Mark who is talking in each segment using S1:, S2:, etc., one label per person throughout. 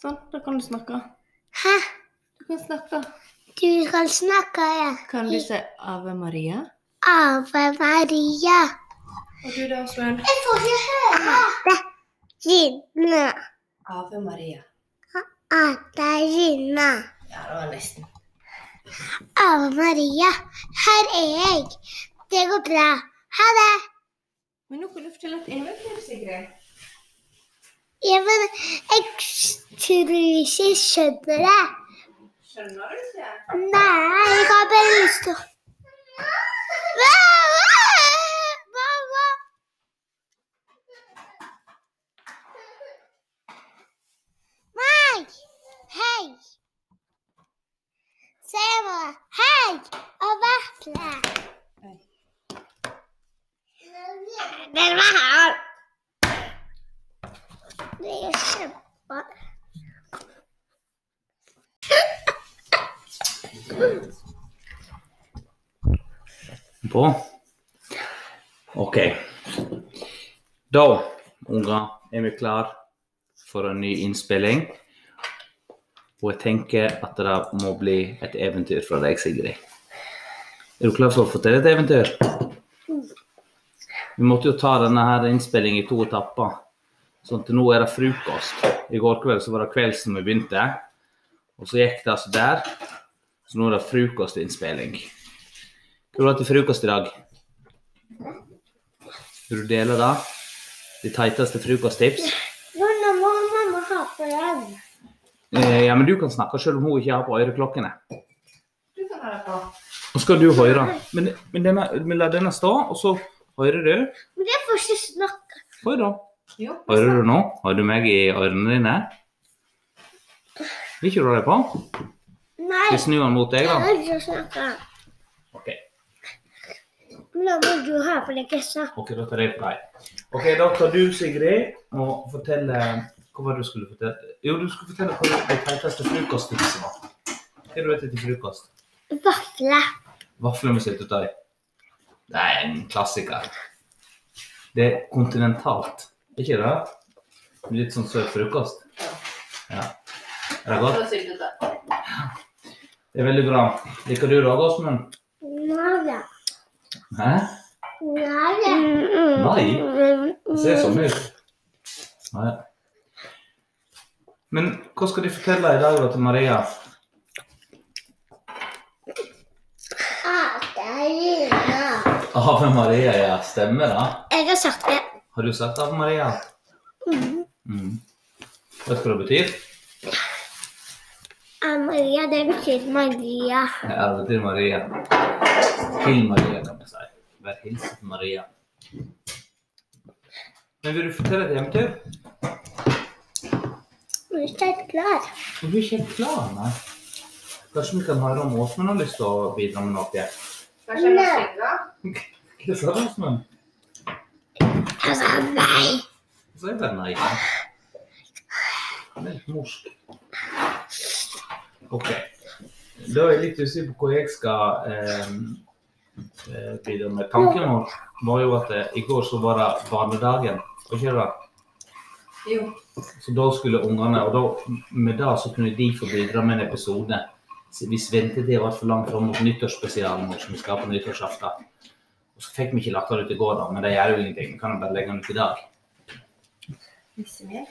S1: Sånn, da kan du snakke.
S2: Hæ?
S1: Du kan snakke.
S2: Du kan snakke, ja. Ah,
S1: Kan du si Ave Maria?
S2: Ave Maria.
S1: Og du da, Svein?
S2: Jeg får ikke høre Ah, det. Rinne.
S1: Ave Maria.
S2: Ah, Atarina.
S1: Ja, det var nesten.
S2: Ave Maria. Her er jeg. Det går bra. Ha det.
S1: Men nå kan du fortelle et innvendig, Sigrid.
S2: Ja, men jeg tror ikke jeg skjønner det.
S1: Skjønner du ikke?
S2: Nei, jeg har bare lyst til å Mamma! Nei! Hei! Se meg. Hei! Og vaffle.
S1: Hei.
S2: Den var her. Det er kjempe...
S3: På? OK. Da, unger, er vi klar for en ny innspilling. Og jeg tenker at det må bli et eventyr fra deg, Sigrid. Er du klar for å fortelle et eventyr? Vi måtte jo ta denne her innspillingen i to etapper. Sånn til nå er det frokost. I går kveld så var det kvelds når vi begynte. Og så gikk det altså der. Så nå er det frokostinnspilling. Hva har du hatt til frokost i dag? Vil du dele det? De teiteste frokosttips?
S2: Nå må mamma ha på den.
S3: Eh, ja, men du kan snakke selv om hun ikke har på øreklokkene.
S1: Du kan ha det på.
S3: Og skal du høre. Men, men, denne, men la denne stå, og så hører du.
S2: Men jeg får ikke snakke.
S3: Hør da.
S1: Jo,
S3: Hører du nå? Har du meg i ørene dine? Vil ikke du ha det på?
S2: Nei,
S3: Jeg snur den mot deg,
S2: jeg
S3: da.
S2: vil ikke snakke.
S3: Ok,
S2: Nå må du ha på deg sånn kassa.
S3: ok, da tar jeg på deg. Ok, da tar du, Sigrid, og fortelle Hva var det du skulle fortelle? Jo, du skulle fortelle hva de teiteste frokosttipsene var. Hva er det du vet til frokost?
S2: Vafle.
S3: Vafler med syltetøy. Det er en klassiker. Det er kontinentalt, ikke det? Det er Litt sånn søt frokost. Ja. Er det godt? Det er veldig bra. Liker du det òg, Åsmund?
S2: Nada.
S3: Hæ?
S2: Nada.
S3: Nei. Det ser sånn ut. Nei. Men hva skal de fortelle i dag da til Maria?
S2: Adelina.
S3: Ave Maria, ja. Stemmer det?
S2: Jeg har sagt det.
S3: Har du sett Ave Maria? Mm. Vet du hva det betyr?
S2: Amaria, det betyr Maria.
S3: Ja, det betyr Maria. Til Maria, kan jeg si. Vær hilset Maria. Men vil du fortelle et eventyr?
S2: Nå er jeg klar.
S3: Du er ikke helt klar, nei. Kanskje vi kan høre om Åsmund har lyst til å bidra med noe?
S1: Kanskje jeg må synge?
S3: Hva sa du, Åsmund?
S2: Jeg sa nei.
S3: Så er det nei. Han er litt morsk. OK. Da er jeg litt usikker på hva jeg skal eh, eh, bidra med. Tanken vår var jo at eh, i går så var det barnedagen, var ikke det?
S1: Jo.
S3: Så da skulle ungene, og da, med det så kunne de få bidra med en episode. Så Hvis ventetida var for langt fram mot nyttårsspesialen vår, som vi skal ha på nyttårsaften. Og så fikk vi ikke lagt den ut i går, da, men det gjør jo ingenting. Vi kan jo bare legge den ut i dag.
S1: Nissemel.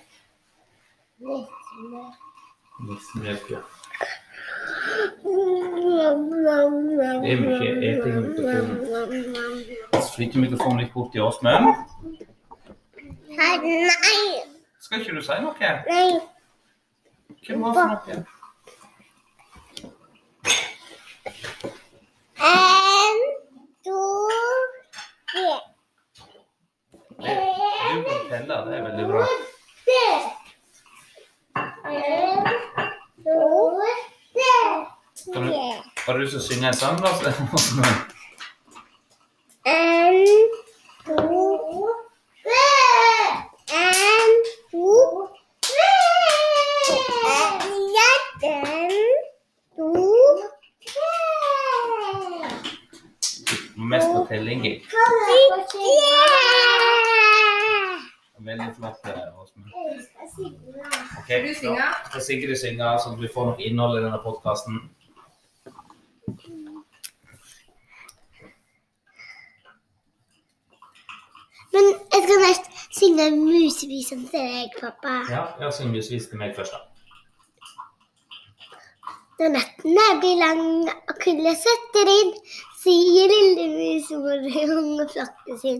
S3: Nissemjølk, ja.
S2: Det
S3: er mye eting og Så flytter mikrofonen litt bort til Åsmund.
S2: Nei.
S3: Skal ikke du si noe?
S2: Nei.
S3: Hvem var det for noe?
S2: En, to, tre.
S3: Det, du må telle, det er veldig bra. Kan du, var det du som synger en sang, da? Åsmund? Mest på telling.
S2: Yeah!
S3: Veldig flott. eh, Åsmund. Ok,
S1: Skal du synge?
S3: da skal Sigrid synge, sånn at vi får noe innhold i denne podkasten.
S2: Men jeg skal nesten synge musevisen til deg, pappa.
S3: Ja, ja, syng visvis til meg først, da.
S2: Når nettene blir lange og kulda setter inn, sier lille mus hvor unge flokken sin.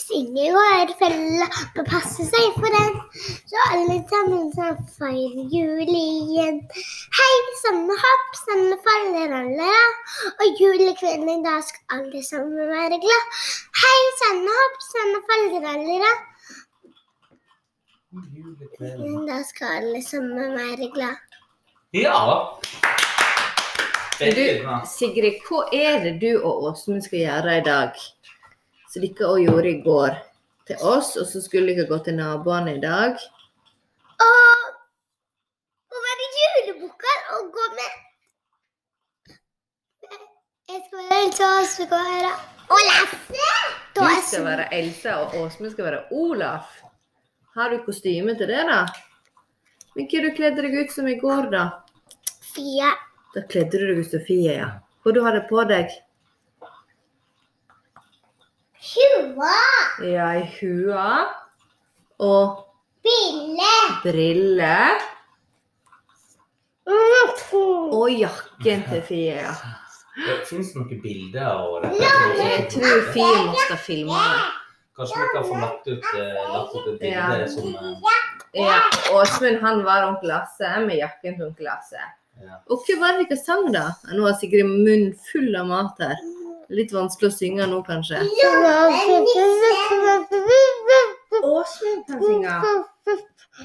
S2: Synger jo er fella og passer seg for den, så alle sammen som feirer jul igjen. Hei, samme hopp, samme faller alle, og julekvelden da skal alle sammen være glad. Hei, samme hopp, samme faller alle,
S3: Julekvelden.
S2: men da skal alle sammen være glad.
S3: Ja! Veldig
S4: Du,
S3: bra.
S4: Sigrid, hva er det du og Åsmund skal gjøre i dag? Som dere òg gjorde i går til oss, og så skulle dere gå til naboene i dag.
S2: Og å være julebukker og gå med Jeg skal være Elsa, og så skal jeg være Olaf.
S4: Du
S2: Da er
S4: skal være Elsa, og Åsmund skal være Olaf. Har du kostyme til det, da? Men hva du kledde deg ut som i går, da?
S2: Sofia
S4: Da kledde du deg ut Sofie, ja. Hva du hadde på deg?
S2: Hua
S4: Ja, ei hue og
S2: Bille.
S4: briller.
S2: Mm.
S4: Og jakken til Fie, ja.
S3: Fins det noen bilder av det?
S4: Jeg tror Fie må ha filma det.
S3: Kanskje vi kan få lagt ut, eh, lagt ut et bilde
S4: Ja.
S3: som eh,
S4: Ja, Åsmund han var onkel Lasse med jakken til onkel Lasse.
S3: Ja.
S4: Og hva var det dere sang, da? Nå har Sigrid munnen full av mat her. Litt vanskelig å synge nå, kanskje. Åsmund kan synge.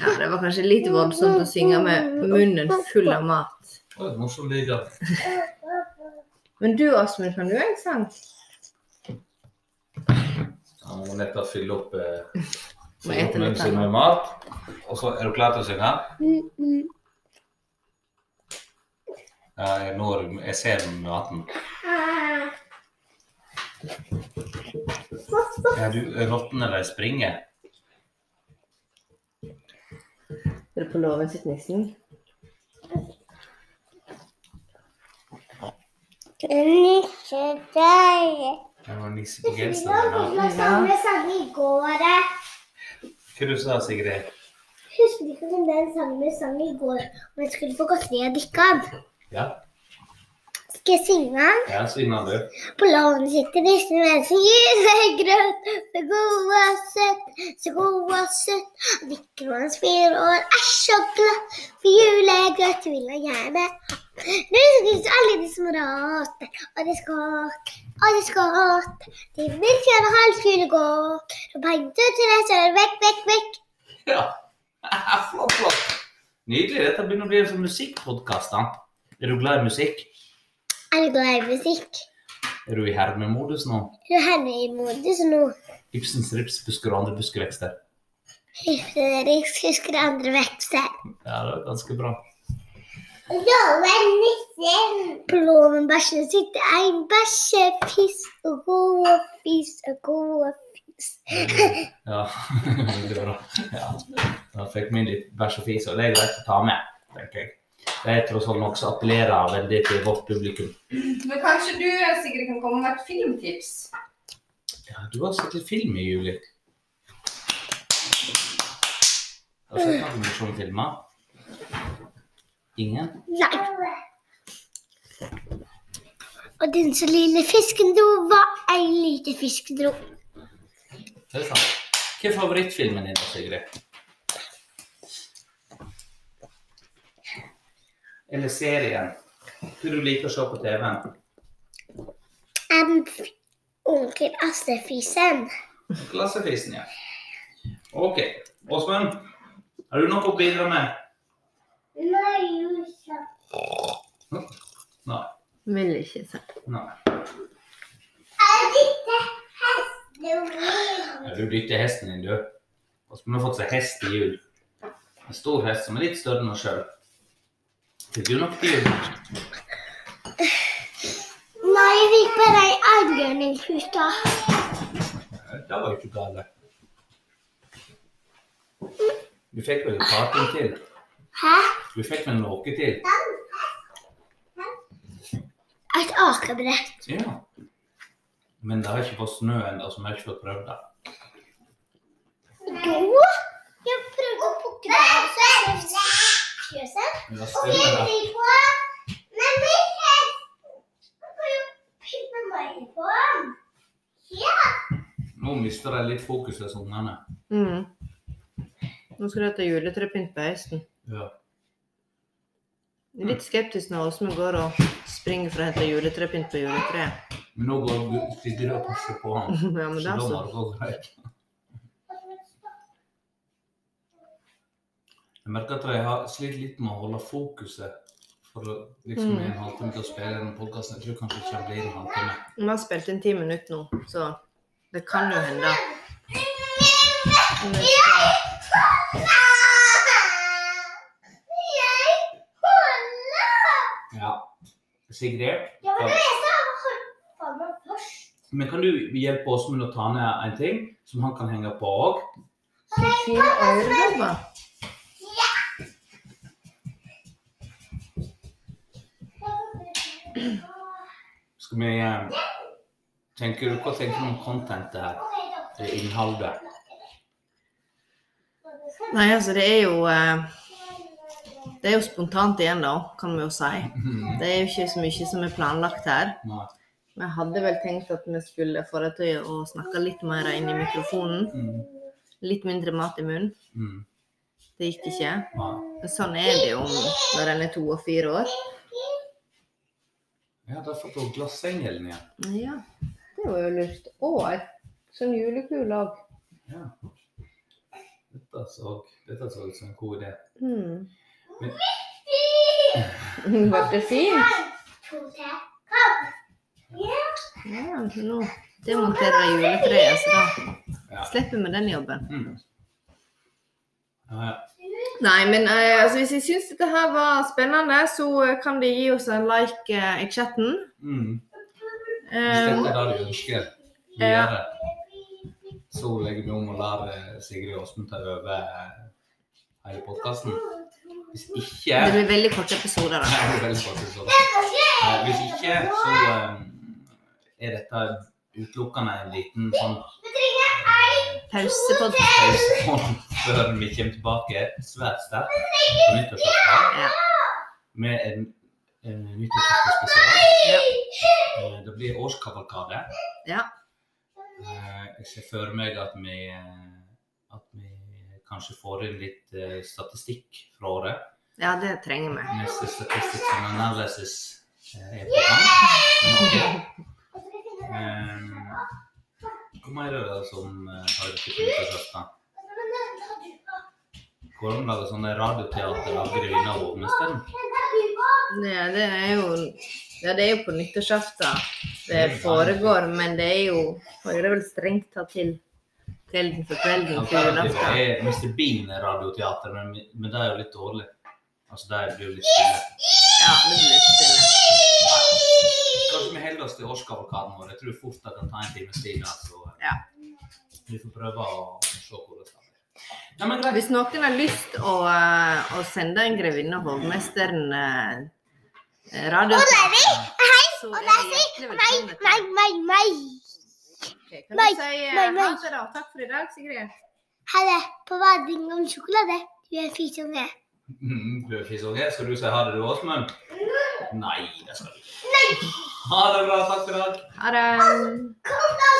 S4: Ja, det var kanskje litt voldsomt å synge med munnen full av mat.
S3: Å, det er morsomt lyd, ja.
S4: Men du, Åsmund, kan du en sang?
S3: Han må nettopp fylle opp, eh,
S4: ete
S3: fylle opp
S4: litt
S3: munnen sin
S4: her.
S3: med mat. Og så er du klar til å synge? Ja, jeg, når, jeg ser den med maten. Ja, du, rottene de springer.
S4: Er det på låven sitt nissen?
S2: Ikke deg.
S3: Det var nisse på
S2: Vi
S3: genseren.
S2: var
S3: din, da.
S2: på samme sang i går. eh.
S3: Hva du sa Sigrid?
S2: Husker du ikke om den samme sang i går om jeg skulle få godteri av Dikkan?
S3: Ja,
S2: Skal jeg synge den?
S3: ja synger du.
S2: På låven sitter nissen med sin julegrøt. Så god og søt, så god og søt. Nikken hans fire år er så glad, for julegrøt vil han gjerne ha. Russegutt og alle de som rater, og de skåter, og de skåter. De vil kjøre halvfyr og gå, og peinter til jeg kjører vekk, vekk, vekk.
S3: Ja. flott, flott. Nydelig. Dette begynner å bli en sånn musikkpodkast. Er du glad i musikk?
S2: Er du glad i musikk?
S3: Er du i hermemodus nå?
S2: Er du herre i modus nå?
S3: Ibsens ripsbusker og andre buskvekster.
S2: Fredrik husker andre vekster.
S3: Ja, det er ganske bra.
S2: Loven nissen. På låven bæsjen sitter en bæsjefiss og god og fis og god og fis.
S3: Ja, veldig bra. Ja. Da fikk vi inn litt bæsj og fis, og det er greit å ta med, tenker jeg. Det er tross alt noe som appellerer veldig til vårt publikum.
S1: Men kanskje du, Sigrid, kan komme med et filmtips?
S3: Ja, du har sett litt film i juli. Har du sett noen morsomme filmer? Ingen?
S2: Nei. Og den så lille fisken dro, var ei lite fisk dro.
S3: Det er sant. Hva er favorittfilmen din, Sigrid? Eller serien? Hva du liker å se på TV-en?
S2: En f- onkel Astrefisen.
S3: Klassefisen, ja. OK. Åsmund, har du noe å bidra med?
S2: Nei, Josef.
S3: Nei.
S4: Vil ikke si.
S3: Nei.
S2: Er dette hestebyen?
S3: Ja, Du dytter hesten din, du. Åsmund har fått seg hest i jul. En stor hest som er litt større enn oss sjøl. Fikk du nok til jul?
S2: Nei, vi gikk bare ei grønningsputa.
S3: Det var jo ikke gale. Du fikk vel et par ting til?
S2: Hæ?
S3: Du fikk vel noe til?
S2: Et akebrett.
S3: Ja. Men det har ikke fått snø ennå, så vi har ikke fått prøvd
S2: Da?
S3: det.
S2: Jeg prøvde å pukke det av fjøset.
S3: Men det stemmer det.
S2: på. Men min hest Du kan jo pynte meg på den.
S3: Nå mister jeg litt fokus hos ungene.
S4: Mm. Nå skal du ta juletrepynt på hesten.
S3: Ja.
S4: Jeg er Litt skeptisk når Åsmund går og springer for å hente juletrepynt på juletreet.
S3: Men nå går du sitter du og passer på han.
S4: Ja, men det
S3: Så da
S4: er
S3: må
S4: så.
S3: det gå greit. Jeg merker at jeg har slitt litt med å holde fokuset. For å liksom
S4: Mm.
S3: i en halvtime til å spille denne podkasten. Jeg tror kanskje det kommer bli en halvtime.
S4: Vi har spilt inn ti minutter nå, så det kan jo hende. Men vi skal-
S2: Jeg holder!
S3: Ja. Sigrid?
S2: Jeg vil
S3: Ja.
S2: lese og holde på meg først.
S3: Men kan du hjelpe oss med å ta ned en ting som han kan henge på òg?
S4: så fire øredobber.
S3: Skal vi eh, tenker, Hva tenker du om contentet
S2: ¿eh?
S3: her? Det innholdet?
S4: Nei, altså det er jo eh, Det er jo spontant igjen, da, kan vi jo si.
S3: Mm.
S4: Det er jo ikke så mye som er planlagt her.
S3: Nei.
S4: Vi hadde vel tenkt at vi skulle få deg til å snakke litt mer inn i mikrofonen.
S3: Mm.
S4: Litt mindre mat i munnen.
S3: Mm.
S4: Det gikk ikke.
S3: Nei.
S4: Men sånn er det jo når en er to og fire år.
S3: Ja, der fikk du glassengelen igjen.
S4: Ja, det var jo lurt. Å, sånn julekule òg.
S3: Ja. Dette så, dette så ut som en god idé.
S4: Ble Hmm. det fint?
S2: To til.
S4: Ja, nå demonterer jeg juletreet, så
S3: Ja.
S4: da slipper vi den jobben.
S3: Mm. Ja, ja.
S4: Nei, men eh, altså, hvis jeg syns dette her var spennende, så eh, kan de gi oss en like eh, i chatten.
S3: Mm. Hvis
S4: Eh,
S3: dette er det du ønsker å
S4: Ja.
S3: gjøre, så legger vi om og lar eh, Sigrid Åsmund ta over eh, hele podkasten. Hvis ikke
S4: det blir veldig korte episoder, da.
S3: Nei, det er veldig faktisk sånn. Nei, Hvis ikke, så eh, er dette utelukkende en liten sånn
S4: Pause på
S3: pause før vi kommer tilbake svært sterkt på nyttårsaften
S4: ja.
S3: med en, en nyttårsaftenspesial.
S4: Ja.
S3: Eh, Det blir årskavalkade.
S4: Ja.
S3: Eh, Jeg ser for meg at vi, eh, at vi kanskje får inn litt eh, statistikk fra året.
S4: ja, det trenger vi.
S3: Neste statistikk som analysis eh, er på gang. Norge. Eh, Hvor mye er det som eh, har ikke funnet oss da? Går det an å lage sånne radioteater av grønne ovnestein?
S4: Ja, det er jo Ja, det er jo på nyttårsaften det foregår, men det er jo Hører vel strengt tatt til kvelden for kvelden til
S3: Alternativet
S4: julaften.
S3: er Mr. Bean radioteater, men, men det er jo litt dårlig. Altså, det blir jo litt stille.
S4: Ja, det blir litt stille.
S3: Kanskje vi holder oss til årskavalkaden vår. Jeg tror fort det kan ta en times tid. Altså.
S4: Ja.
S3: Vi får prøve å se hvordan det blir. Nei, men greit.
S4: Hvis noen har lyst å, eh, å sende en grevinne og hovmesteren eh, radio så er det hjertelig velkommen.
S2: Meg, meg, meg.
S4: Ok, Kan
S2: meg,
S4: du si eh,
S2: meg, meg.
S4: ha det, da? Takk for i dag, Sigrid.
S2: Ha det. På bading om sjokolade. Du er fin som det.
S3: Mm, du er fisunge. Skal du si ha det, du, Åsmund? Nei, det skal du ikke. Ha det bra. Takk for i dag.
S4: Ha det.
S2: Kom da,